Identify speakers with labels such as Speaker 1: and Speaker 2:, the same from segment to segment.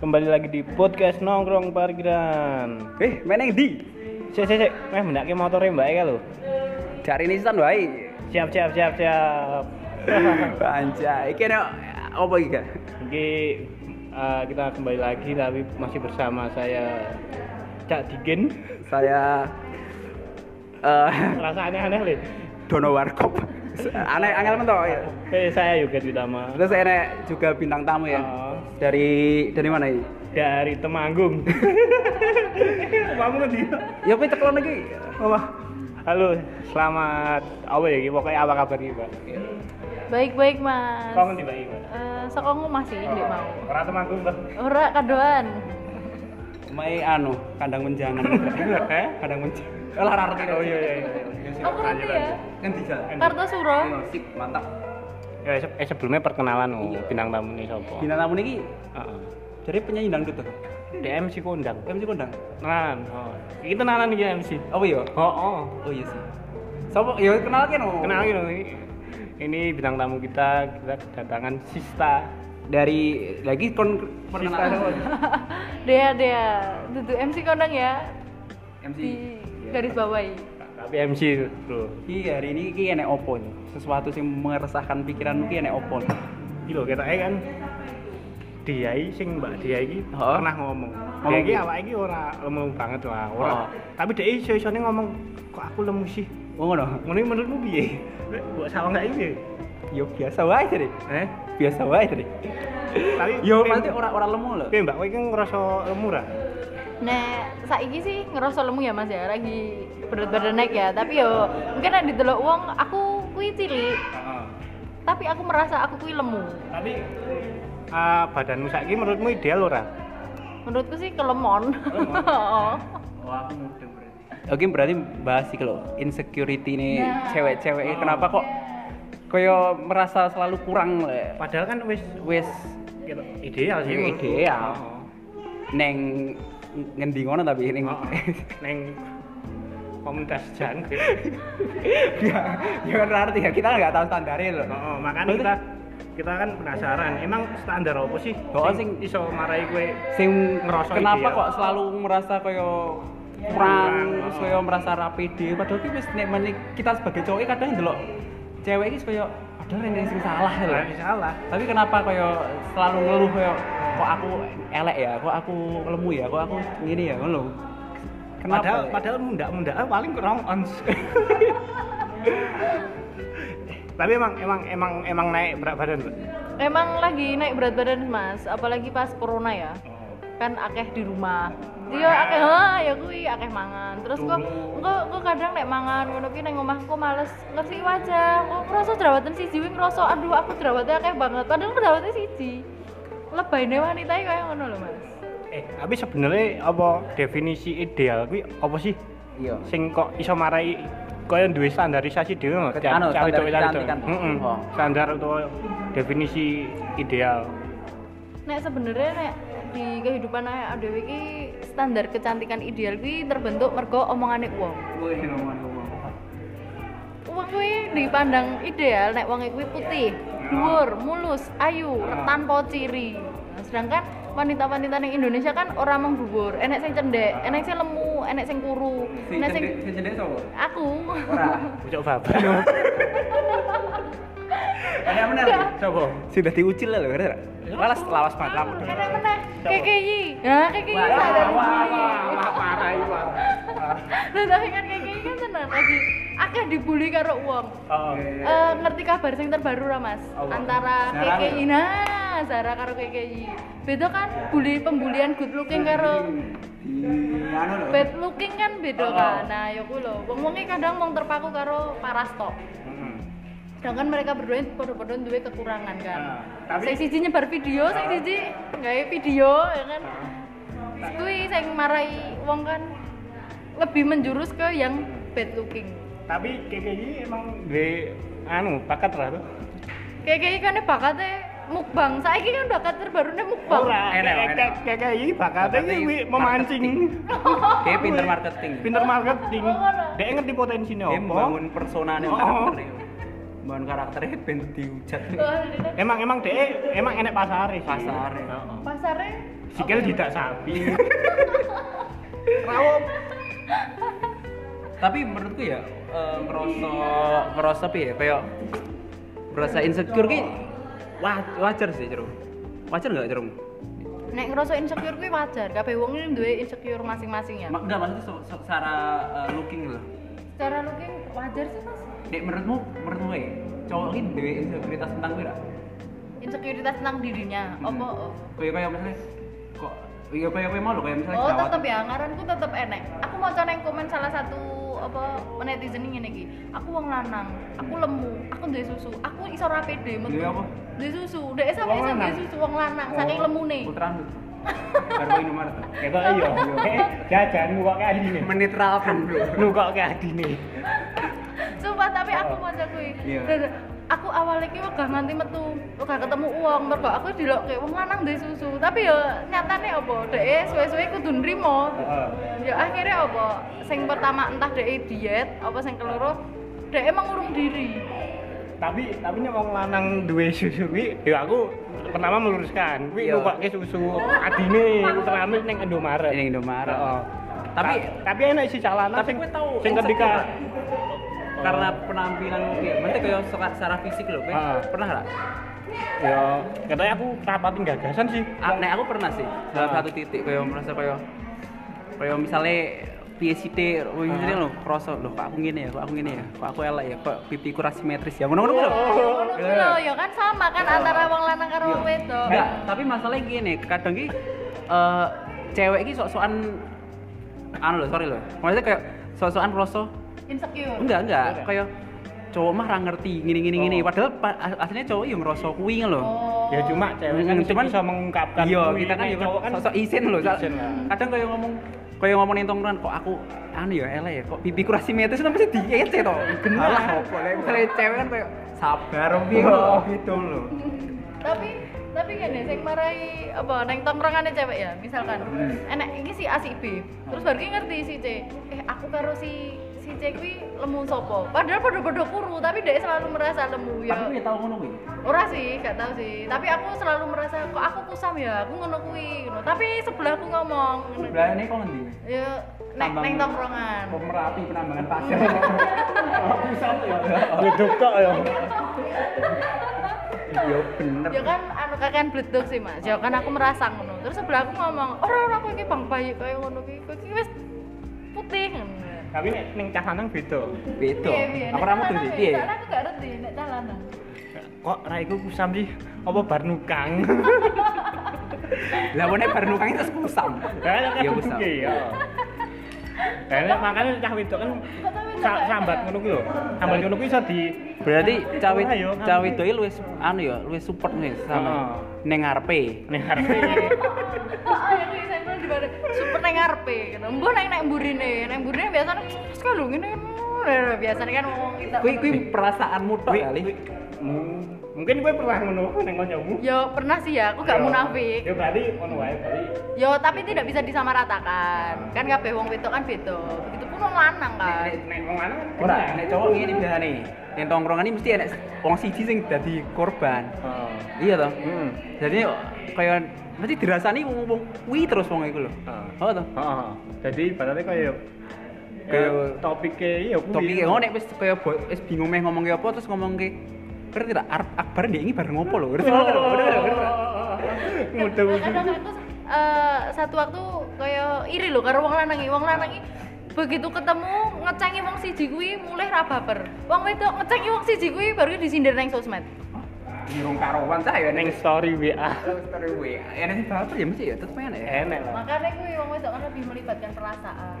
Speaker 1: Kembali lagi di podcast nongkrong parkiran.
Speaker 2: Eh, meneng di.
Speaker 1: Cek cek cek, meh mendaki motornya Eh, Mbak Eka lho.
Speaker 2: Dari ini san wae.
Speaker 1: Siap siap siap siap.
Speaker 2: Anjay, iki nek apa iki, Kak?
Speaker 1: Oke, eh, kita kembali lagi tapi masih bersama saya Cak Dikin.
Speaker 2: Saya eh
Speaker 1: Rasanya aneh lho.
Speaker 2: Dono Warkop. Aneh angel men to.
Speaker 1: Eh, saya Yoga Utama.
Speaker 2: Terus enek juga bintang tamu ya.
Speaker 1: Oh.
Speaker 2: Dari dari mana ini?
Speaker 1: dari Temanggung. Kamu ngendi?
Speaker 2: Ya kowe teklon iki. Apa?
Speaker 1: Halo, selamat apa ya iki pokoknya apa kabar iki, Mbak?
Speaker 3: Baik-baik, Mas.
Speaker 1: Kok ngendi, Mbak? iki, Mbak?
Speaker 3: Eh, sok ngomong masih ndek mau.
Speaker 1: Ora Temanggung, Mbak.
Speaker 3: Ora kadoan.
Speaker 2: Mai anu, kandang menjangan.
Speaker 1: Eh?
Speaker 2: kandang menjangan. Lah ra ngerti.
Speaker 1: Oh iya iya. iya.
Speaker 3: Aku ngerti ya.
Speaker 2: Kan dijalan.
Speaker 3: Kartosuro.
Speaker 2: Oh, Sip, mantap.
Speaker 1: Ya, se- eh, sebelumnya perkenalan oh,
Speaker 2: Iya.
Speaker 1: bintang tamu ini siapa?
Speaker 2: Bintang tamu niki
Speaker 1: Heeh.
Speaker 2: dari penyanyi dangdut to.
Speaker 1: DM si kondang.
Speaker 2: MC kondang.
Speaker 1: Kenalan. Oh. Iki kenalan iki MC.
Speaker 2: Apa ya?
Speaker 1: Oh, oh.
Speaker 2: Oh iya sih. Sopo ya kenal kan no.
Speaker 1: Kenalin dong ini. Ini bintang tamu kita, kita kedatangan Sista.
Speaker 2: Dari lagi kon perkenalan
Speaker 3: Dea Dea. Duduk MC kondang ya
Speaker 2: MC.
Speaker 3: di garis bawahi.
Speaker 1: Tapi MC, Bro.
Speaker 2: Iya. Ki hari ini ki enek opo nih? Sesuatu sing meresahkan pikiranmu ki enek opo? nih?
Speaker 1: Iki lho ketoke kan Diai sing Mbak Diai iki
Speaker 2: Heeh.
Speaker 1: pernah ngomong.
Speaker 2: Ngomong
Speaker 1: Dia iki
Speaker 2: apa?
Speaker 1: awake iki ora lemu banget lah, ora.
Speaker 2: Heeh.
Speaker 1: Tapi dia iso-isone ngomong kok aku lemu sih.
Speaker 2: Oh ngono.
Speaker 1: Ngono iki menurutmu piye? Mbok sawang gak iki?
Speaker 2: Yo biasa wae tadi.
Speaker 1: Eh?
Speaker 2: Biasa wae tadi.
Speaker 1: Tapi
Speaker 2: Yo nanti orang-orang lemu loh.
Speaker 1: Piye Mbak, kowe iki ngerasa lemu ra?
Speaker 3: Nah, saiki sih ngerasa lemu ya Mas ya, lagi berat badan naik ya, tapi yo mungkin ada delok wong aku kuwi cilik, tapi aku merasa aku kuwi lemu.
Speaker 1: Tapi ah, badanmu saiki menurutmu ideal ora?
Speaker 3: Menurutku sih kelemon. Oh.
Speaker 2: Oh aku mudeng berarti. Oke berarti bahas sih kalau insecurity nih
Speaker 3: Nah.
Speaker 2: cewek-cewek ini kenapa kok koyo merasa selalu kurang le.
Speaker 1: Padahal kan wis
Speaker 2: Wis
Speaker 1: ketok ideal sih. Oh, menurutku.
Speaker 2: ideal.
Speaker 1: Heeh.
Speaker 2: neng ngendi ngono tapi neng
Speaker 1: Heeh.
Speaker 2: oh.
Speaker 1: Neng komunitas gitu. jangkrik.
Speaker 2: ya ya kan berarti ya kita nggak tahu standarnya loh
Speaker 1: Oh, makanya kita kita kan penasaran. Emang standar apa sih?
Speaker 2: Oh,
Speaker 1: sing
Speaker 2: sing-
Speaker 1: iso marahi kowe.
Speaker 2: sing
Speaker 1: Ngerasa
Speaker 2: kenapa
Speaker 1: ideal.
Speaker 2: kok selalu merasa koyo
Speaker 1: Kurang,
Speaker 2: kurang terus
Speaker 1: oh.
Speaker 2: koyo merasa rapede padahal ki wis nek menik kita sebagai cowok ki kadang delok cewek iki koyo padahal ini sing salah loh
Speaker 1: Lah salah.
Speaker 2: tapi kenapa koyo selalu ngeluh koyo kok aku elek ya kok aku lemu ya kok aku ngini ya ngono kenapa
Speaker 1: Padahal
Speaker 2: ya?
Speaker 1: padahal mundak-mundak paling kurang ons. Tapi emang emang emang emang naik berat badan. Bro.
Speaker 3: Emang lagi naik berat badan Mas, apalagi pas corona ya.
Speaker 2: Oh.
Speaker 3: kan akeh di rumah iya akeh ha ya kuwi akeh mangan terus kok kok kok kadang nek mangan ngono kuwi nang omahku males ngersi wajah kok ngerasa jerawatan siji wing ngerasa aduh aku jerawatnya akeh banget padahal jerawatnya siji lebayne wanita iki kaya ngono lho Mas
Speaker 1: Eh, tapi sebenarnya apa definisi ideal kuwi apa sih?
Speaker 2: iya
Speaker 1: Sing kok iso marahi koyo duwe standarisasi dhewe ngono.
Speaker 2: Ket- anu, standar kecantikan.
Speaker 1: Heeh.
Speaker 2: Oh.
Speaker 1: Standar atau definisi ideal.
Speaker 3: nek sebenarnya nek di kehidupan awake dhewe iki standar kecantikan ideal kuwi terbentuk mergo omongane wong Wong kuwi dipandang ideal nek wong kuwi putih, dhuwur, mulus, ayu, tanpa ciri. Nah, Sedangkan wanita-wanita ning Indonesia kan ora mung dhuwur, enek sing cendhek, enek sing lemu, enek sing kuru, enek Nah, sing
Speaker 2: cendek sapa
Speaker 3: aku.
Speaker 2: ora
Speaker 1: Bocok babar.
Speaker 2: ada bener
Speaker 1: Coba.
Speaker 2: sudah diucil lah lho bener
Speaker 1: Iya.
Speaker 2: lawas lawas banget lamu
Speaker 3: Kene meneh KKI. Ya KKI sadar diri.
Speaker 1: parah iki, parah.
Speaker 3: Lah tapi kan KKI kan tenan lagi akeh dibully karo wong.
Speaker 1: Oh.
Speaker 3: Eh, ngerti kabar sing terbaru ra Mas?
Speaker 2: Apa?
Speaker 3: Antara
Speaker 2: Zara
Speaker 3: KKI nah, Zara karo KKI. Beda kan bully pembulian good looking karo
Speaker 2: di anu lho Oh.
Speaker 3: bad looking kan beda kan. Nah, ya kuwi lho. Wong-wonge kadang mung terpaku karo paras tok.
Speaker 1: Mm-mm.
Speaker 3: Sedangkan mereka berdua padha-padha duwe kekurangan kan.
Speaker 2: Ah,
Speaker 1: Nah,
Speaker 3: Tapi sing
Speaker 1: tapi
Speaker 3: siji nyebar video, sing siji nggawe video ya kan.
Speaker 2: Ah,
Speaker 3: Kuwi sing marai wong kan lebih menjurus ke yang bad looking.
Speaker 1: tapi KKI emang di anu pakat lah tuh.
Speaker 3: Kayak kan bakatnya mukbang. Saiki kan bakat terbarune mukbang.
Speaker 1: Ora,
Speaker 2: enak,
Speaker 1: K-
Speaker 2: enak.
Speaker 1: K- KKI bakatnya
Speaker 2: Bakatnya
Speaker 1: ini
Speaker 2: marketing.
Speaker 1: memancing
Speaker 2: dia ya? pinter marketing
Speaker 1: pinter marketing.
Speaker 3: Oh, ora.
Speaker 1: Dia ngerti potensinya
Speaker 2: dia
Speaker 1: apa.
Speaker 2: membangun personanya
Speaker 1: Oh.
Speaker 2: karakternya membangun karakternya ben diujat
Speaker 3: Wah, ini
Speaker 1: Emang emang dia emang enak pasar sih.
Speaker 2: pasar
Speaker 3: pasarnya
Speaker 1: sikil tidak sapi
Speaker 2: rawop tapi menurutku ya eh, merasa merasa piye ya? kayak merasa insecure ki wa- wajar sih cerung wajar nggak cerung
Speaker 3: nek ngerasa insecure kuwi wajar kabeh wong ini duwe insecure masing-masing ya
Speaker 2: Ma- nggak maksudnya se- se- secara eh, looking loh
Speaker 3: secara looking wajar sih mas
Speaker 2: dek menurutmu menurutmu ya cowok ini dewe insecurities tentang gue nggak?
Speaker 3: insecurities tentang dirinya
Speaker 2: Hmm.
Speaker 3: opo oh.
Speaker 2: kayak kayak misalnya kok iya kayak kayak mau loh kayak misalnya
Speaker 3: Oh
Speaker 2: jerawat.
Speaker 3: tetep ya, ngaranku tetep enek. Aku mau yang komen salah satu apa netizen ini iki. Aku wong lanang, aku lemu, aku duwe susu, aku iso ora pede metu.
Speaker 2: Duwe apa?
Speaker 3: Duwe susu. Dek sampe
Speaker 1: Wong
Speaker 3: iso duwe
Speaker 1: lanang?
Speaker 3: susu wong lanang, saking
Speaker 2: Iya. Oh,
Speaker 3: lemune.
Speaker 2: putra rambut baru ini nomor tuh
Speaker 1: ketok iya Eh, jajan ngukok ke adine
Speaker 2: menit rapan bro
Speaker 1: ngukok ke adine
Speaker 3: Sumpah tapi aku mau kuwi.
Speaker 2: Iya.
Speaker 3: Dan aku awalnya ki wegah nganti metu, wegah ketemu uang, mergo aku dilokke wong lanang duwe susu. Tapi ya nyatane apa? Dek suwe-suwe kudu nrimo.
Speaker 1: Heeh.
Speaker 3: ya akhirnya apa sing pertama entah dhek e diet apa sing keloro dhek e mengurung diri
Speaker 1: tapi tapi nek wong lanang duwe susu kuwi ya aku pertama meluruskan kuwi
Speaker 2: Iya.
Speaker 1: ngukokke susu adine utrame ning Indomaret
Speaker 2: Ning Indomaret. oh.
Speaker 1: Heeh.
Speaker 2: Tapi-
Speaker 1: Ta- tapi enak sih calana
Speaker 2: tapi
Speaker 1: sing
Speaker 2: gue tahu
Speaker 1: sing
Speaker 2: insecure,
Speaker 1: ketika
Speaker 2: Pak. karena penampilan lu ya maksudnya kayak secara, secara fisik lo kayak
Speaker 1: Ah.
Speaker 2: pernah nggak
Speaker 1: ya katanya aku rapatin gagasan sih
Speaker 2: Ah, nah aku pernah sih dalam
Speaker 1: Ah.
Speaker 2: satu titik kayak merasa kayak kayak misalnya PSIT, oh
Speaker 1: Ah.
Speaker 2: ini loh, kroso loh, kok aku gini ya, kok aku gini ya, kok aku elek ya, kok pipiku ra simetris ya, ngono-ngono
Speaker 1: Iya.
Speaker 2: lho.
Speaker 1: Oh,
Speaker 3: ngono kuwi lho ya kan sama kan antara wong lanang karo wong wedok
Speaker 2: Iya. Enggak, tapi masalahnya gini, kadang ki eh, cewek ki sok-sokan anu loh, sorry loh. Maksudnya kayak sok-sokan kroso
Speaker 3: insecure
Speaker 2: enggak, enggak, kayak cowok mah ra ngerti gini-gini gini.
Speaker 1: Oh.
Speaker 2: Padahal pa- aslinya cowok yang ngerasa kuwi ngono lho.
Speaker 3: oh
Speaker 1: ya cuma cewek kan
Speaker 2: Hmm,
Speaker 1: cuman
Speaker 2: cuman-
Speaker 1: bisa mengungkapkan
Speaker 2: iya
Speaker 1: kuwi.
Speaker 2: kita kan
Speaker 1: Nek
Speaker 2: ya
Speaker 1: cowok
Speaker 2: kan sosok isin kan. loh so-
Speaker 1: Isin lah.
Speaker 2: kadang kayak ngomong kayak ngomong ning tongkrongan kok aku anu ya eleh ya kok pipiku ra simetris tapi mesti diece to
Speaker 1: Bener.
Speaker 2: Alah, apa lek misalnya cewek kan kayak sabar piye
Speaker 1: Oh.
Speaker 2: kok gitu loh
Speaker 3: tapi tapi gini sing marai apa neng tongkrongane cewek ya misalkan enak iki si A si B terus baru ki ngerti si C eh aku karo si si C kuwi lemu sopo padahal padha-padha kuru tapi dhek selalu merasa lemu ya
Speaker 2: tapi gue tau ngono kuwi
Speaker 3: Ora sih, gak tahu sih. Tapi aku selalu merasa kok aku kusam ya, aku ngono kuwi ngono. Tapi sebelahku ngomong ngono.
Speaker 2: sebelahnya kok ngendi
Speaker 3: Ya nek
Speaker 2: Tambang-
Speaker 3: neng tongkrongan.
Speaker 2: kok merapi penambangan pasir pusat ya
Speaker 1: duduk tok ya
Speaker 2: iya bener
Speaker 3: Ya kan anu kakean bledok sih, Mas. Ya kan aku merasa ngono. Terus sebelahku ngomong, "Ora ora kowe iki bang bayi kowe ngono kuwi. Kowe iki wis putih." ngono.
Speaker 1: tapi nek ning cah lanang beda
Speaker 2: beda
Speaker 3: Piye, piye,
Speaker 2: aku
Speaker 3: nek
Speaker 2: ra mutu sih
Speaker 3: lanang ya,
Speaker 1: iya,
Speaker 2: piye
Speaker 3: soalnya aku gak ngerti nek dalanan.
Speaker 1: kok raiku kusam sih apa bar nukang
Speaker 2: lah wene bar nukang terus kusam
Speaker 1: ya kan
Speaker 2: Iya,
Speaker 1: kudu ki ya Lah makanya cah wedok kan
Speaker 3: Kok tau wedok
Speaker 1: sa-
Speaker 3: gak
Speaker 1: sambat
Speaker 3: enak?
Speaker 1: ngono ki lho. Sambat ngono ki iso di
Speaker 2: berarti cawe
Speaker 1: Ora yo,
Speaker 2: cawe doi luwes anu ya luwes support
Speaker 1: iya, nah,
Speaker 2: nih
Speaker 1: Heeh.
Speaker 2: sama neng ngarepe
Speaker 1: ning arepe.
Speaker 3: Heeh, ya kuwi sampel di bareng. Super neng ngarepe ngono. Mbok neng nek mburine, nek mburine biasanya terus kan lho ngene kan. Biasanya kan ngomong kita.
Speaker 2: kui kui perasaanmu tok
Speaker 1: Kuwi-
Speaker 2: kali
Speaker 1: kuwi- Hmm, Mungkin kowe pernah ngono ning kancamu.
Speaker 3: Ya pernah sih ya, aku gak
Speaker 1: Ya.
Speaker 3: munafik.
Speaker 1: Ya berarti ngono wae berarti.
Speaker 3: Ya tapi tidak bisa disamaratakan. Kan kabeh wong wedok kan beda. Begitupun wong lanang kan.
Speaker 1: Nek wong lanang kan
Speaker 2: ora
Speaker 1: kena.
Speaker 2: nek cowok ngene biasa nih yang tongkrongan ini mesti enak wong siji sing dadi korban
Speaker 1: Heeh.
Speaker 2: iya toh
Speaker 1: Hmm.
Speaker 2: jadi kayak mesti dirasani wong wong kui terus wong iku lho
Speaker 1: Heeh.
Speaker 2: oh toh
Speaker 1: Heeh. Jadi ibaratnya kaya kaya
Speaker 2: Kaya-
Speaker 1: topike ya kuwi.
Speaker 2: topik ngono oh, nek wis kaya bo- wis bingung meh ngomong ke apa terus ngomong ke ngerti tak Arep akbar ndek iki bareng ngopo lho ngerti
Speaker 1: Oh.
Speaker 2: ngono lho, ngerti lho, ngerti lho.
Speaker 1: Mutu.
Speaker 3: Nah, Kadang aku eh, satu waktu kaya iri lho karo wong lanang iki. Wong lanang iki begitu ketemu ngecengi wong siji kuwi mulai ra baper. Wong wedok ngecengi wong siji kuwi baru disindir nang sosmed.
Speaker 2: Irung karuan cah ya
Speaker 1: Ning
Speaker 2: ning
Speaker 1: story WA.
Speaker 2: story WA. Enak sih baper ya mesti ya tetep enak ya.
Speaker 1: Enak lah.
Speaker 3: Makanya kuwi wong wedok kan lebih melibatkan perasaan.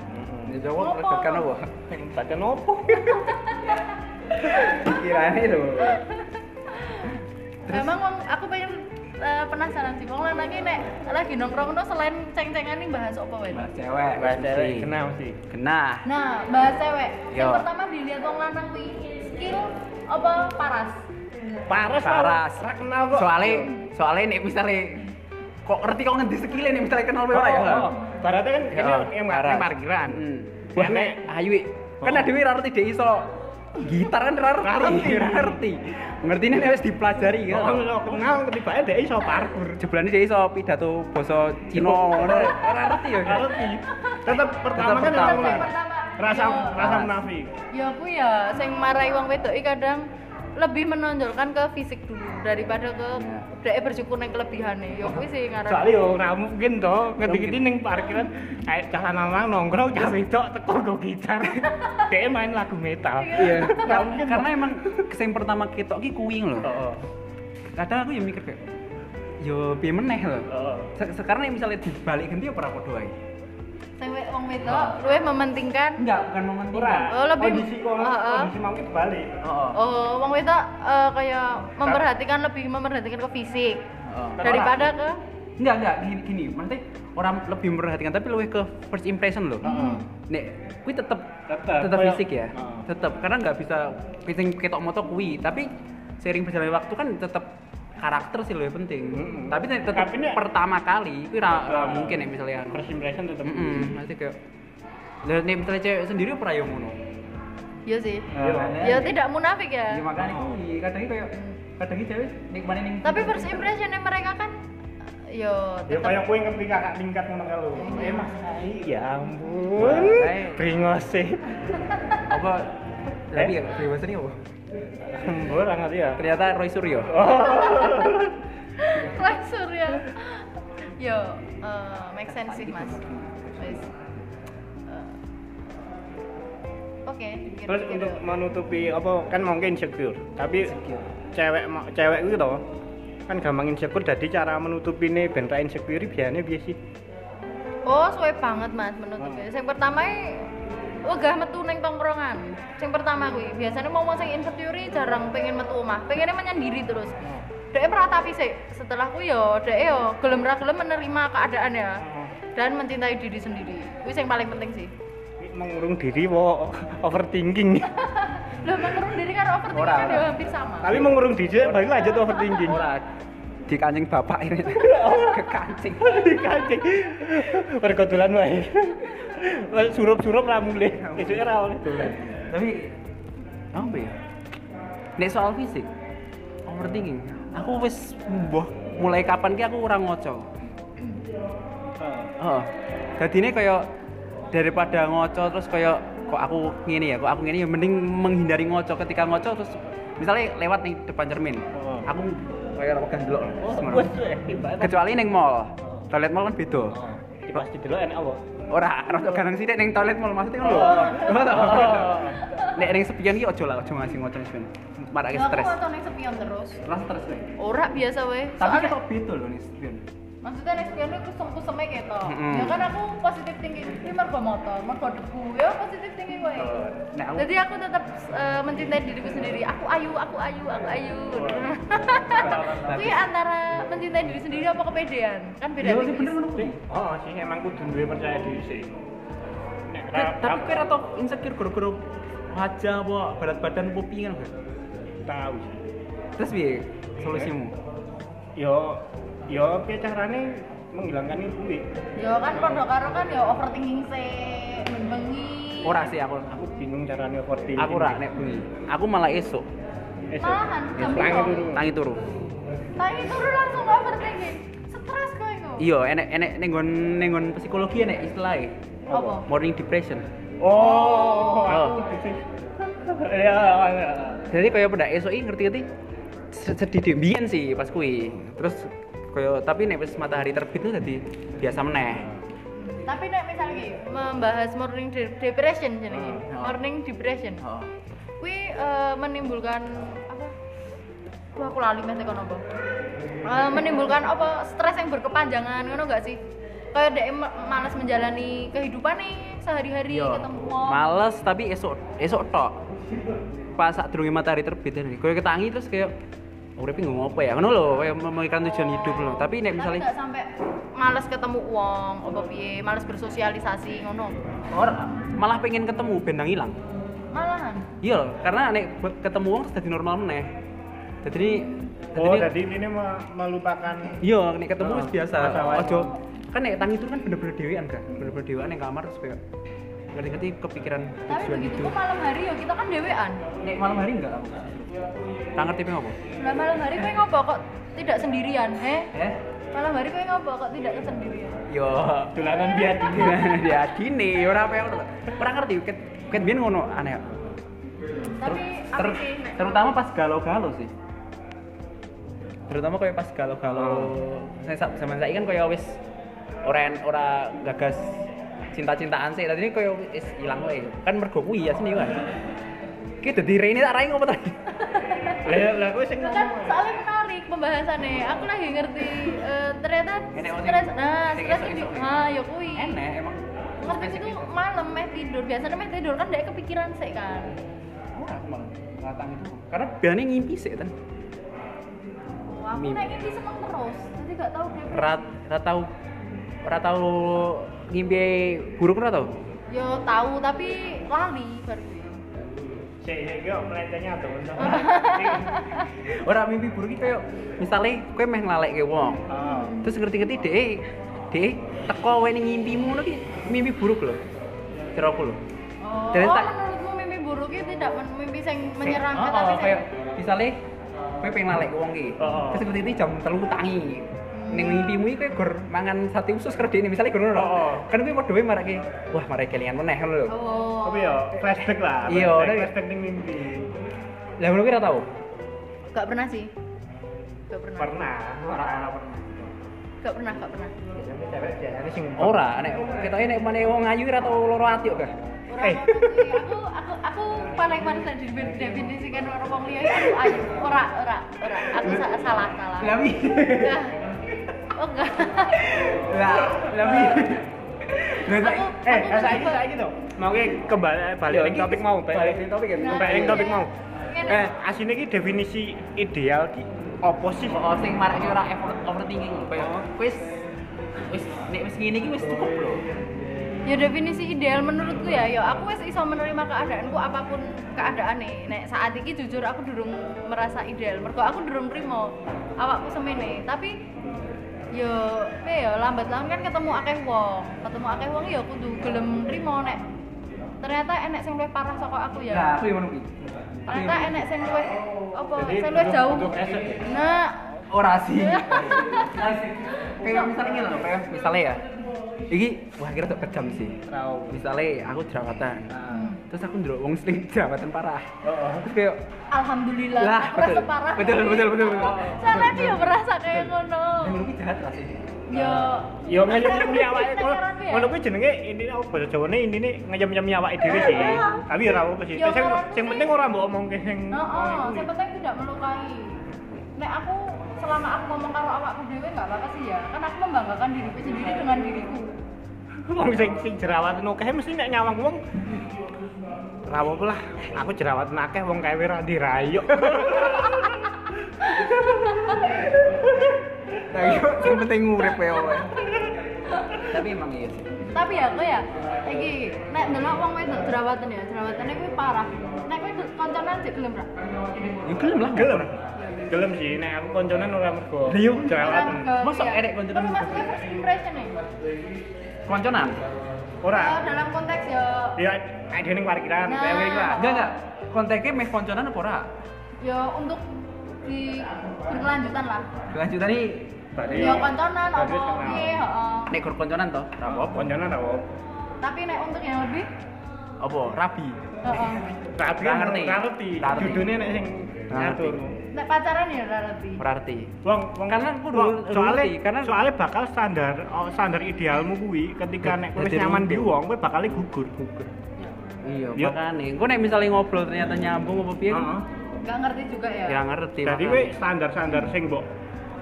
Speaker 1: Heeh.
Speaker 2: Ya Jawa kan apa?
Speaker 1: Ning badan opo?
Speaker 2: Pikirannya lho.
Speaker 3: Memang wong aku pengen eh, penasaran sih wong lanang iki nek lagi nongkrong no selain ceng-cengan iki bahas apa wae.
Speaker 2: Mas cewek,
Speaker 1: Bahas cewek
Speaker 2: mesti.
Speaker 1: kenal sih.
Speaker 2: Genah.
Speaker 3: Nah, bahas cewek. Yang
Speaker 2: Yo.
Speaker 3: pertama dilihat wong lanang kuwi skill apa paras?
Speaker 1: Paras,
Speaker 2: Paras.
Speaker 1: Ra kenal kok.
Speaker 2: soalnya soalnya nih misalnya kok ngerti kok ngendi sekile nih misalnya kenal
Speaker 1: Oh,
Speaker 2: orang ya
Speaker 1: oh. Baratnya kan ini yang
Speaker 2: Paras.
Speaker 1: parkiran.
Speaker 2: Hmm.
Speaker 1: Ya,
Speaker 2: Wah, nek
Speaker 1: nek-
Speaker 2: ayu kan
Speaker 1: Oh.
Speaker 2: ada dewe ra ngerti dhek iso gitar kan rar ngerti ra ngerti ngerti ini harus dipelajari kan
Speaker 1: Wong iso Iya, kenal ketibaan dia iso parkur.
Speaker 2: jeblane dia iso pidato basa Cina ora ora ngerti ya kan?
Speaker 1: Ngerti. Tetep pertama
Speaker 2: Tetep
Speaker 1: kan
Speaker 2: pertama. Iya.
Speaker 1: ngerti.
Speaker 3: Pertama.
Speaker 1: Rasa
Speaker 3: Yo.
Speaker 1: rasa munafik.
Speaker 3: ya aku ya sing marai wong wedok iki kadang lebih menonjolkan ke fisik dulu daripada ke dhek bersyukur nang kelebihane ya kuwi sih ngaran
Speaker 1: Iya. Soalnya yo ora mungkin to ngedik-ngedik
Speaker 2: Mungkin.
Speaker 1: ning parkiran kayak cah lanang nongkrong cah wedok teko go gitar. Dia main lagu metal.
Speaker 2: iya karena emang yang pertama ketok ki kuing loh
Speaker 1: Heeh.
Speaker 2: kadang aku yang mikir kayak yo piye meneh loh
Speaker 1: Heeh.
Speaker 2: Se- sekarang yang misalnya dibalik ganti ya ora padha ae
Speaker 3: sing we- wong wedok luwih mementingkan
Speaker 2: enggak bukan momen
Speaker 1: Ora.
Speaker 3: Oh, lebih-
Speaker 1: Kondisi kon-
Speaker 3: Heeh.
Speaker 1: kondisi mangkit balik.
Speaker 2: oh
Speaker 3: oh wong wedok eh, kayak memperhatikan lebih memperhatikan ke fisik
Speaker 2: oh
Speaker 3: daripada ke
Speaker 2: enggak enggak gini gini maksudnya orang lebih memperhatikan tapi lebih ke first impression loh
Speaker 1: Heeh.
Speaker 2: nek kui tetep
Speaker 1: Tetep,
Speaker 2: tetep
Speaker 1: kayak-
Speaker 2: fisik ya
Speaker 1: Heeh.
Speaker 2: tetep karena nggak bisa kucing ketok moto kui tapi sering berjalannya waktu kan tetep karakter sih lebih penting
Speaker 1: Mm-mm.
Speaker 2: tapi nek tetep
Speaker 1: Tapi nek-
Speaker 2: pertama kali kui ra, ra
Speaker 1: Betul.
Speaker 2: mungkin ya misalnya
Speaker 1: First impression tetep.
Speaker 2: Mm-mm, nanti kayak lihat nih misalnya cewek sendiri pernah yang ngono kan?
Speaker 3: ya sih
Speaker 2: Ah.
Speaker 1: Iya.
Speaker 3: ya tidak munafik
Speaker 2: ya
Speaker 3: ya
Speaker 2: makanya kui kadang kayak kadang cewek nikmatin yang
Speaker 3: tapi first impression mereka kan yo
Speaker 1: Ya
Speaker 3: tetap
Speaker 1: kayak kowe ngerti kakak tingkat ngono kalau. Eh Mas Ai, ya ampun.
Speaker 2: Mas Ai.
Speaker 1: Bringos sih.
Speaker 2: apa lagi ya bebas ini apa Oh,
Speaker 1: Gue ora ngerti ya.
Speaker 2: ternyata Roy Suryo
Speaker 3: langsung ya yo eh, make sense sih mas Wes. Eh, oke gitu,
Speaker 1: Terus
Speaker 3: gitu.
Speaker 1: untuk menutupi apa kan mungkin insecure, tapi
Speaker 2: Insecure.
Speaker 1: cewek ma- cewek itu toh kan gampang insecure jadi cara menutupi nih bentra insecure biasanya biasa sih
Speaker 3: oh suwe banget mas menutup ya yang pertama wegah metu neng tongkrongan yang pertama kuwi biasanya mau mau sing insecure jarang pengen metu omah pengennya menyendiri terus dek meratapi sih setelah ku yo dek yo gelem ra gelem menerima keadaan ya dan mencintai diri sendiri itu yang paling penting sih
Speaker 1: Ini mengurung diri wo overthinking
Speaker 3: Loh, mengurung diri kan overthinking
Speaker 2: Ora,
Speaker 3: kan
Speaker 2: ora.
Speaker 3: ya hampir sama.
Speaker 1: tapi mengurung diri baru lanjut overthinking
Speaker 2: ora di kancing bapak ini ke kancing
Speaker 1: dikancing perkotulan wae surup-surup lah mulai besoknya ra oleh dolan
Speaker 2: tapi apa ya nek soal fisik overthinking aku wis mbah mulai kapan ki aku ora ngoco heeh Oh. dadine kaya daripada ngoco terus kaya kok aku ngene ya kok aku ngene ya mending menghindari ngoco ketika ngoco terus misalnya lewat nih depan cermin
Speaker 1: Heeh.
Speaker 2: aku kaya ora pegang delok Semono.
Speaker 1: Oh. wes weh, hebat.
Speaker 2: kecuali ning mall toilet mall kan beda
Speaker 1: Ini pasti dulu enak apa?
Speaker 2: ora rada garang sithik ning toilet mall maksudnya ngono lho.
Speaker 1: Oh.
Speaker 2: Ngono to.
Speaker 1: Oh.
Speaker 2: Nek ning sepian iki ojo lah ojo ngasih ngocon sepian. Marake
Speaker 3: Lah,
Speaker 2: stres.
Speaker 3: Aku foto neng sepion terus.
Speaker 2: Lah stres nih.
Speaker 3: Ora biasa weh.
Speaker 2: Tapi
Speaker 3: Soalnya-
Speaker 2: kita beda lho nih sepian.
Speaker 3: maksudnya neng sepion itu kusem-kusemnya gitu.
Speaker 2: Mm-mm.
Speaker 3: Ya kan aku positif thinking. Ini mergo motor, mergo debu. Ya positif thinking weh.
Speaker 1: Oh.
Speaker 2: Nek aku
Speaker 3: Jadi aku tetap eh, mencintai diriku sendiri. Aku ayu, aku ayu, aku ayu. Itu ya antara mencintai diri sendiri apa kepedean?
Speaker 1: Iya,
Speaker 3: Kan beda
Speaker 2: Ya sih
Speaker 3: tipis.
Speaker 2: bener ngono kuwi.
Speaker 1: Oh, sih emang kudu duwe percaya diri sih. Nek
Speaker 2: Nek-
Speaker 1: ra-
Speaker 2: Tapi kowe ora tau insecure gara-gara wajah apa berat badan apa piye kan. Bro?
Speaker 1: tahu sih.
Speaker 2: Terus piye solusimu?
Speaker 1: yo yo piye carane menghilangkan itu kuwi
Speaker 3: Ya kan podo karo kan ya overthinking sih, bengi.
Speaker 2: Ora sih aku
Speaker 1: aku bingung carane overthinking
Speaker 2: aku ora nek bengi. Aku malah esuk
Speaker 1: esok
Speaker 3: Malahan jam
Speaker 1: tangi turu
Speaker 3: pitung.
Speaker 2: tangi turu.
Speaker 3: Tangi turu langsung overthinking. Stres kowe iku.
Speaker 2: Iya, enek enek ning nggon ning nggon psikologi enek istilahnya
Speaker 3: Apa?
Speaker 2: morning depression.
Speaker 1: oh aku
Speaker 2: Oh.
Speaker 1: bising. ya ya.
Speaker 2: jadi kayak pada esok ini ngerti ngerti sedih deh biyen sih pas kui terus kayak tapi nek wis matahari terbit tuh jadi biasa meneh
Speaker 3: Tapi nek misalnya iki, membahas morning de- depression jenenge.
Speaker 2: Hmm.
Speaker 3: Morning depression.
Speaker 2: oh.
Speaker 3: Kuwi eh, menimbulkan apa? Wah, aku lali mas tekan apa? Eh, menimbulkan apa stres yang berkepanjangan ngono gak sih? Kayak dek ma- malas menjalani kehidupan nih sehari-hari ketemu wong.
Speaker 2: males tapi esok esok tok pas saat durunge matahari terbit nih kayak ketangi terus kayak urip ngomong apa ya ngono lho kayak memikirkan tujuan hidup loh tapi nek
Speaker 3: Tapi
Speaker 2: misalnya
Speaker 3: gak sampai males ketemu wong, apa piye, males bersosialisasi ngono.
Speaker 2: Ora, malah pengen ketemu benang hilang
Speaker 3: Malahan.
Speaker 2: iya loh karena nek be- ketemu orang terus jadi normal meneh jadi ini
Speaker 1: oh jadi ini me- melupakan
Speaker 2: Iya, nek ketemu wis
Speaker 1: Oh,
Speaker 2: biasa.
Speaker 1: masalah.
Speaker 2: Ojo kan nek tangi itu kan bener-bener dhewean kan. Bener-bener dhewean ning kamar terus kayak ngerti-ngerti kepikiran
Speaker 3: tapi
Speaker 2: tujuan
Speaker 3: begitu
Speaker 2: hidup.
Speaker 3: kok malam hari ya kita kan dewean
Speaker 2: Nek malam hari enggak kamu? Tak ngerti pengen apa?
Speaker 3: lah malam hari kowe ngopo kok tidak sendirian heh
Speaker 2: Eh?
Speaker 3: malam hari kowe ngopo kok tidak sendirian
Speaker 2: Yo,
Speaker 1: Tulanan biar dingin.
Speaker 2: gimana dia dini, ora apa yang Ora ngerti, ket ket biyen ngono aneh.
Speaker 3: tapi
Speaker 2: Ter-
Speaker 3: aku sih nek-
Speaker 2: terutama pas galau-galau sih. Terutama kayak pas galau-galau. Saya sa- zaman saya kan kayak wis ora ora gagas cinta-cintaan sih. Tadi kayak wis ilang wae. Kan mergo kuwi ya seni kan. Ki dadi rene tak rai ngopo tadi?
Speaker 1: Lah lah kowe sing
Speaker 3: kan
Speaker 1: ngomong.
Speaker 3: soalnya menarik pembahasannya aku lagi ngerti eh, ternyata
Speaker 2: Enak,
Speaker 3: stres
Speaker 2: enak.
Speaker 3: nah
Speaker 2: Sing
Speaker 3: stres itu
Speaker 2: esok-esok.
Speaker 3: nah ya kui
Speaker 2: Enak emang.
Speaker 3: ngerti itu malam meh tidur biasanya meh tidur kan tidak kepikiran sih kan
Speaker 2: Ora malah ngatang itu. Karena biasanya ngimpi sih kan.
Speaker 3: Oh, aku
Speaker 2: Mimpi.
Speaker 3: naik ini seneng terus jadi gak tahu kenapa.
Speaker 2: Rat rat tau rat tau ngimpi buruk ora tau?
Speaker 3: yo tahu Ya, tapi lali baru ini.
Speaker 1: Sik sik iki kok melencengnya atuh.
Speaker 2: Ora mimpi buruk iki kayak misalnya kowe meh nglalekke wong.
Speaker 1: Oh.
Speaker 2: Terus ngerti-ngerti dhek dhek teko wae ning ngimpimu ngono ki mimpi buruk lho. Kira aku lho.
Speaker 3: oh,
Speaker 2: Jadi
Speaker 3: oh,
Speaker 2: tak-
Speaker 3: menurutmu mimpi buruk itu tidak men- mimpi yang
Speaker 2: oh,
Speaker 3: menyeramkan
Speaker 2: oh,
Speaker 3: tapi
Speaker 2: kayak
Speaker 3: sing-
Speaker 2: misalnya kowe pengen nglalekke wong ki.
Speaker 1: Oh, oh.
Speaker 2: Terus ngerti-ngerti jam 3 tangi. Ning mimpimu iki kowe gur mangan sate usus karo dhek misalnya gur ngono. lho.
Speaker 1: Oh, oh.
Speaker 2: Kan kowe padha wae marake. Wah, marake kelingan meneh ngono lho.
Speaker 3: oh
Speaker 1: Tapi ya flashback lah.
Speaker 2: Eh, Iya,
Speaker 1: flashback-
Speaker 2: udah.
Speaker 1: flashback ning mimpi.
Speaker 2: Lah ngono ki ora tau.
Speaker 3: gak pernah sih gak pernah
Speaker 1: Pernah. Ora ora pernah.
Speaker 3: gak pernah gak pernah
Speaker 1: Biasanya cewek biasanya sing
Speaker 2: Ora, nek ketoke nek meneh wong ayu ora tau loro ati kok. Kak.
Speaker 3: Orang
Speaker 1: Eh.
Speaker 3: aku, aku aku aku paling paling tak didefinisikan definisikan kan orang wong liya itu ayu. Ora ora ora. Aku sa- salah salah.
Speaker 2: Lah mi.
Speaker 3: Enggak. Oh enggak.
Speaker 2: Lah, lah mi. Lah
Speaker 3: Aku-
Speaker 2: saiki-
Speaker 1: Eh,
Speaker 3: aku
Speaker 1: saiki
Speaker 3: ngerti
Speaker 1: saiki to. Mau ki kembali eh, balik ning topik mau
Speaker 2: balik ning topik ya.
Speaker 3: Nah,
Speaker 1: Mbak Eling topik mau.
Speaker 3: Ngene.
Speaker 1: Eh, asine ki definisi ideal ki opo sih?
Speaker 2: Oh, sing marak ora effort overthinking lho, kaya wis wis nek wis ngene iki wis cukup lho.
Speaker 3: Ya definisi ideal menurutku ya, ya aku wis iso menerima keadaanku apapun keadaane. Nek saat iki jujur aku durung merasa ideal. Mergo aku durung primo awakku semene. Tapi yo pe yo lambat laun kan ketemu akeh wong. Ketemu akeh wong ya kudu gelem trimo nek ternyata enek sing luwih parah saka aku ya.
Speaker 2: Nah, aku yang ngono kuwi.
Speaker 3: ternyata enek sing luwih apa
Speaker 1: Jadi,
Speaker 3: sing luwih
Speaker 1: untuk-
Speaker 3: jauh
Speaker 1: untuk esek.
Speaker 3: nah
Speaker 2: Ora sih. Kayak misalnya ngene lho, kaya misalnya ya. Iki wah kira tak kejam sih. Misalnya aku jerawatan. Terus aku ndelok wong sing jerawatan parah.
Speaker 1: Heeh.
Speaker 2: Terus kayak
Speaker 3: alhamdulillah
Speaker 2: Lah,
Speaker 3: aku rasa
Speaker 2: betul.
Speaker 3: parah
Speaker 2: Betul, betul, betul, betul.
Speaker 3: soalnya
Speaker 2: Betul,
Speaker 3: dia
Speaker 2: betul.
Speaker 3: merasa kayak ngono
Speaker 2: ngono kuwi jahat lah sih.
Speaker 3: yo
Speaker 1: Yo ngayem-ngayem awake
Speaker 3: Beneran
Speaker 1: kok.
Speaker 3: ya?
Speaker 1: Ngono kuwi jenenge intine apa bahasa Jawane intine ngayem-ngayem awake dhewe sih. Tapi ora apa sih.
Speaker 3: Ya,
Speaker 1: Sing
Speaker 3: karena
Speaker 1: sing
Speaker 3: sih-
Speaker 1: penting ora mbok omongke sing
Speaker 3: no oh
Speaker 1: ngomong
Speaker 3: yang
Speaker 1: kuwi.
Speaker 3: penting tidak melukai nek aku selama aku ngomong karo awakku dhewe nggak apa-apa sih ya kan aku membanggakan diriku sendiri dengan diriku
Speaker 1: Wong sing sing jerawatan akeh mesti nek nyawang wong Ra apa lah, aku jerawatan akeh wong kae ora dirayuk.
Speaker 2: Nah, yo sing penting ngurip ya. weh. Tapi emang iya sih.
Speaker 3: tapi ya aku ya iki nek ndelok wong wedok jerawatan ya jerawatane kuwi parah nek kowe konconan sik gelem ra
Speaker 2: Ya gelem lah.
Speaker 1: Gelem. Gelem sih nek aku konconan ora mergo
Speaker 2: Riuk.
Speaker 1: jerawatan.
Speaker 2: Mosok erek konconan?
Speaker 3: Tapi maksudnya first impression ya?
Speaker 2: Konconan.
Speaker 1: Ora.
Speaker 3: Ya, dalam konteks ya
Speaker 1: Ya ada ning parkiran,
Speaker 3: Nah.
Speaker 1: kayak gini lah.
Speaker 2: Enggak enggak. Konteknya meh konconan apa ora?
Speaker 3: ya untuk di berkelanjutan lah.
Speaker 2: Lanjutan nih
Speaker 1: Berarti-
Speaker 3: Ya konconan
Speaker 1: berarti
Speaker 3: apa
Speaker 1: Iya. kenal.
Speaker 3: piye heeh.
Speaker 2: nek gur konconan toh. Ra
Speaker 1: Apa konconan apa?
Speaker 3: Tapi nek untuk yang lebih
Speaker 2: apa? Rabi.
Speaker 3: heeh.
Speaker 1: Tapi
Speaker 2: Ra ngerti.
Speaker 1: ra ngerti.
Speaker 2: Ra ngerti.
Speaker 1: Judulnya nek sing
Speaker 2: Ra ngerti.
Speaker 1: ngatur.
Speaker 3: Nek pacaran ya ora lebih.
Speaker 2: Berarti.
Speaker 1: Wong wong
Speaker 2: Karena aku
Speaker 1: wong-
Speaker 2: dulu-
Speaker 1: soalnya
Speaker 2: dulu ngerti, karena-
Speaker 1: soalnya bakal standar oh, standar idealmu kuwi ketika nek kowe
Speaker 2: Jadi
Speaker 1: nyaman
Speaker 2: runtuh.
Speaker 1: di wong kowe bakal gugur gugur.
Speaker 2: Iya,
Speaker 1: Iya.
Speaker 2: makane. Engko nek misalnya ngobrol ternyata nyambung apa piye?
Speaker 1: Heeh.
Speaker 3: Enggak ngerti juga ya.
Speaker 2: Ya ngerti.
Speaker 1: Jadi
Speaker 2: makane.
Speaker 1: kowe standar-standar sing mbok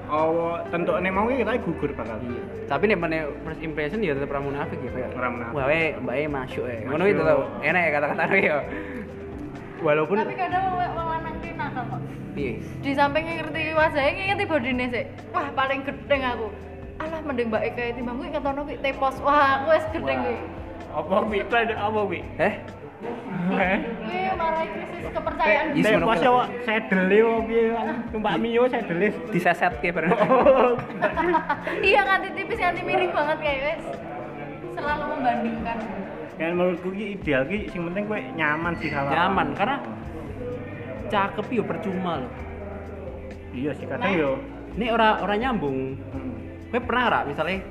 Speaker 1: awa tentokne mau kuwi kita gugur bakal.
Speaker 2: Iya. Tapi nek meneh first impression ya tetep ra munafik ya kayak.
Speaker 1: Ra munafik.
Speaker 2: Wah, we mbake masuk e. Ngono
Speaker 1: Masuk.
Speaker 2: itu tau. Enak ya kata-kata ya. Walaupun
Speaker 3: Tapi kadang wong wong lanang ki nakal kok.
Speaker 2: piye?
Speaker 3: Di samping ngerti wajahnya ngerti bodine sik. Wah, paling gedeng aku. Alah mending mbak Eka timbang kuwi ketono kuwi tepos. Wah, aku wis gedeng
Speaker 2: Wah.
Speaker 3: kuwi.
Speaker 1: Apa kuwi plan apa kuwi?
Speaker 2: Eh?
Speaker 1: Heh.
Speaker 3: Kuwi Iya, marai krisis kepercayaan
Speaker 2: Iya,
Speaker 1: Eh, Nek
Speaker 2: sebenarnya.
Speaker 1: pas yo sedele opo piye kan numpak mio sedele.
Speaker 2: Diseset ke bareng.
Speaker 3: kan, iya nganti tipis nganti miring banget kayak wes selalu membandingkan
Speaker 1: Yang menurutku ki ideal ki sing penting kowe nyaman sih kalau.
Speaker 2: Nyaman, karena- cakep yo percuma loh
Speaker 1: iya sih kadang yo.
Speaker 2: ini orang orang nyambung gue pernah ra misalnya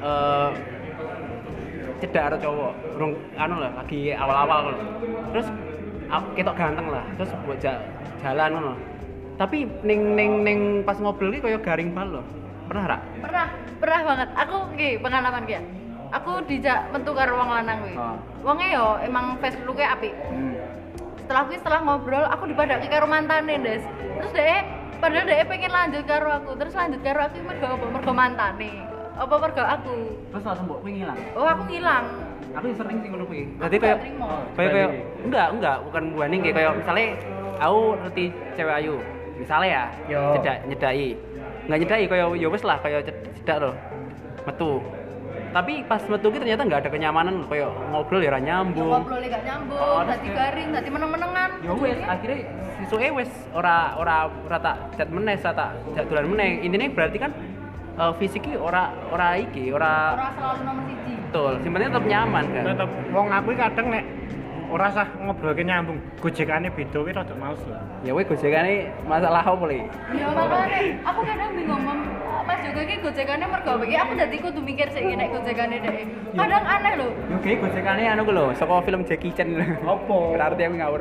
Speaker 2: eh cedak ada cowok rung anu lah lagi awal-awal ngono. terus a- ketok ganteng lah terus buat ja- jalan ngono tapi ning ning ning pas ngobrol iki kaya garing banget loh pernah ra
Speaker 3: pernah pernah banget aku nggih pengalaman ya aku dijak metu karo wong lanang kuwi
Speaker 2: Ah.
Speaker 3: wonge yo emang face look apik
Speaker 1: Hmm.
Speaker 3: setelah kuwi setelah ngobrol aku dipadaki karo mantane Des terus deh padahal deh pengen lanjut karo aku terus lanjut karo aku mergo apa mergo mantane apa mergo aku
Speaker 2: terus langsung mbok kuwi ngilang
Speaker 3: oh aku ngilang
Speaker 2: aku sering sih ngono kuwi
Speaker 3: Aku
Speaker 2: dadi
Speaker 3: gak
Speaker 2: kaya
Speaker 3: terima.
Speaker 2: kaya kaya
Speaker 1: Dibanding.
Speaker 2: Oh, enggak enggak bukan buaning kayak kaya misalnya aku ngerti cewek ayu misalnya ya
Speaker 1: Yo.
Speaker 2: cedak nyedai enggak nyedai kaya ya wis lah kaya ced- cedak loh metu tapi pas metu ki ternyata enggak ada kenyamanan kaya ngobrol ya ra
Speaker 3: Yo,
Speaker 2: nyambung
Speaker 3: ngobrolnya gak nyambung
Speaker 2: Oh,
Speaker 3: dadi
Speaker 2: terus-
Speaker 3: garing dadi meneng-menengan
Speaker 2: ya wis akhirnya sisuke wis ora ora ora tak chat meneh ora tak jadulan meneh intine berarti kan eh, fisik ki ora ora iki ora
Speaker 3: orang selalu nomor siji
Speaker 2: betul sing penting tetep nyaman kan
Speaker 1: Tetep wong aku ki kadang nek ora sah ngobrol ki nyambung, gojekane beda ki rada males lah.
Speaker 2: ya weh gojekane masalah apa boleh
Speaker 3: Ya makanya, aku kadang bingung mem Mas Joko ini gojekannya mergo apa? Ya, aku jadi kudu mikir sih nek gojekannya deh Kadang aneh loh
Speaker 2: Oke, gojekannya anu ku lho, saka film Jackie Chan lho.
Speaker 1: Apa?
Speaker 2: Berarti aku ngawur.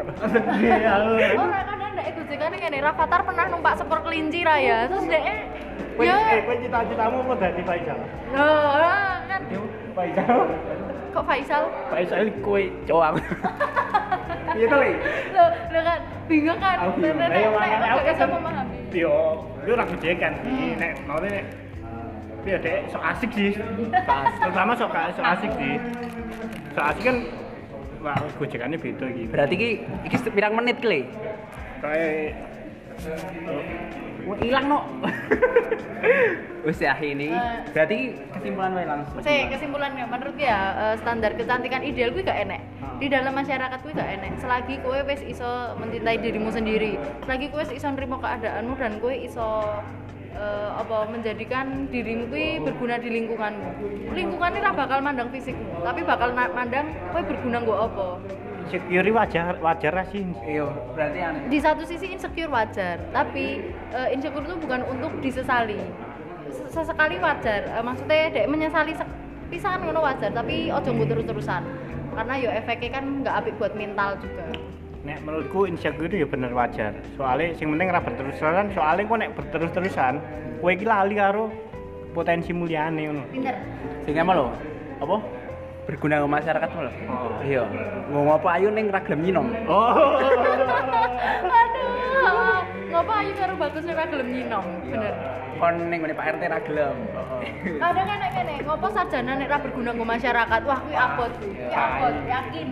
Speaker 1: Iya.
Speaker 3: Orang kadang deh gojekannya kayak nih Rafathar pernah numpak sepur kelinci raya Terus deh
Speaker 1: Kowe
Speaker 3: Ya
Speaker 1: eh, kowe cita-citamu apa dadi Faisal?
Speaker 3: Nah, kan
Speaker 1: Yo, Faisal.
Speaker 3: Kok Faisal?
Speaker 1: Faisal kowe
Speaker 2: Cowok aku. Iya to, Le.
Speaker 3: Loh, loh kan bingung kan?
Speaker 1: Aku
Speaker 3: Nek,
Speaker 1: bingung.
Speaker 3: nek,
Speaker 1: Ayo,
Speaker 3: nek,
Speaker 1: makanya
Speaker 3: nek,
Speaker 1: aku
Speaker 3: gak bisa
Speaker 1: kan-
Speaker 3: memahami
Speaker 1: Yo, yo ora gojekan. Ki, Nek mau nek Iya dek, sok asik sih.
Speaker 2: Pas.
Speaker 1: Terutama sok sok asik sih. Sok asik kan wah gojekannya beda gitu.
Speaker 2: Berarti ki iki pirang menit ki, Le?
Speaker 1: Kayak
Speaker 2: Wah, ilang no. Wis ya ini.
Speaker 3: Eh.
Speaker 2: Berarti ki kesimpulan wae langsung.
Speaker 3: Sih, kesimpulannya menurut ya eh, standar kecantikan ideal gue gak enek. Di dalam masyarakat gue gak enek. Selagi kue wis iso mencintai dirimu sendiri, selagi kue wis iso nerima keadaanmu dan kue iso eh, apa menjadikan dirimu kui berguna di lingkunganmu. Lingkungan ini lah bakal mandang fisikmu, tapi bakal na- mandang kue berguna gue apa.
Speaker 1: security wajar wajar lah sih.
Speaker 2: Iya, berarti aneh.
Speaker 3: Di satu sisi insecure wajar, tapi eh, insecure itu bukan untuk disesali. Se- Sesekali wajar, eh, maksudnya dek menyesali sek- pisan ngono wajar, tapi ojo nggo terus-terusan. Karena yo efeknya kan nggak apik buat mental juga.
Speaker 1: Nek menurutku insecure ya bener wajar. Soalnya sing penting ra berterus-terusan, soalnya kok nek berterus-terusan, kowe iki lali karo potensi mulyane ngono.
Speaker 3: Pinter.
Speaker 2: Sehingga apa lho? Apa? Berguna ke masyarakat lho.
Speaker 1: Oh.
Speaker 2: Iya. Ngomong apa ayu ning ra gelem nyinom.
Speaker 1: Oh.
Speaker 3: Aduh, ngapa ayu karo bagus ora gelem nyinong, bener.
Speaker 2: Kon ning ngene Pak RT ra gelem.
Speaker 3: Kadang kan nek kene, ngopo sarjana nek ra berguna nggo masyarakat, wah kuwi abot, kuwi abot, yakin.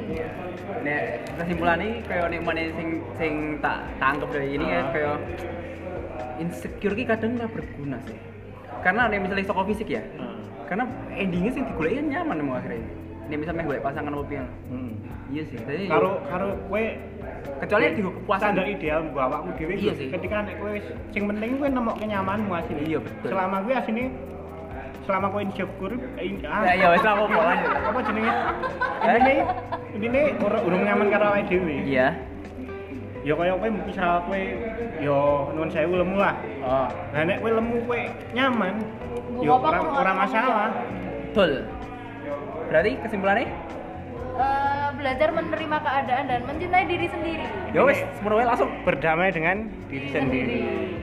Speaker 2: Nek kesimpulan ini kayak nek mana sing sing tak tangkep dari ini ya
Speaker 1: Ah.
Speaker 2: kayak insecure ki kadang lah berguna sih. Karena nek misalnya saka fisik ya. Karena endingnya sing digoleki kan nyaman mau akhirnya. Nek misalnya golek pasangan opo pian.
Speaker 1: Hmm.
Speaker 2: Iya sih. Jadi
Speaker 1: Karo karo kowe
Speaker 2: kecuali digo kepuasan
Speaker 1: standar ideal gua awakmu dhewe
Speaker 2: Iya
Speaker 1: iya
Speaker 2: sih.
Speaker 1: ketika nek kowe wis- sing penting kowe nemokke nyamanmu asine
Speaker 2: Iya, betul.
Speaker 1: selama kowe asine selama kowe insecure in,
Speaker 2: Ya ya wis lah apa
Speaker 1: ah, apa jenenge
Speaker 2: Eh?
Speaker 1: ini ini ora urung nyaman karo awake dhewe
Speaker 2: Iya.
Speaker 1: ya kaya kowe misal kowe ya nuwun sewu lemu lah
Speaker 2: Oh.
Speaker 1: nah nek kowe lemu kowe nyaman
Speaker 3: Nggak
Speaker 1: ya
Speaker 3: apa-apa,
Speaker 1: ora
Speaker 3: nggak
Speaker 1: ora
Speaker 3: apa-apa.
Speaker 1: masalah
Speaker 2: Betul. Berarti kesimpulannya
Speaker 3: Eh, belajar menerima keadaan dan mencintai diri sendiri.
Speaker 2: ya wis semuanya langsung.
Speaker 1: berdamai dengan diri
Speaker 3: Diri
Speaker 1: sendiri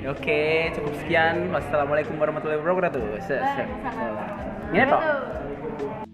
Speaker 2: Oke, cukup sekian. Wassalamualaikum warahmatullahi wabarakatuh. Se- se-
Speaker 3: Waalaikumsalam.
Speaker 2: Ini toh.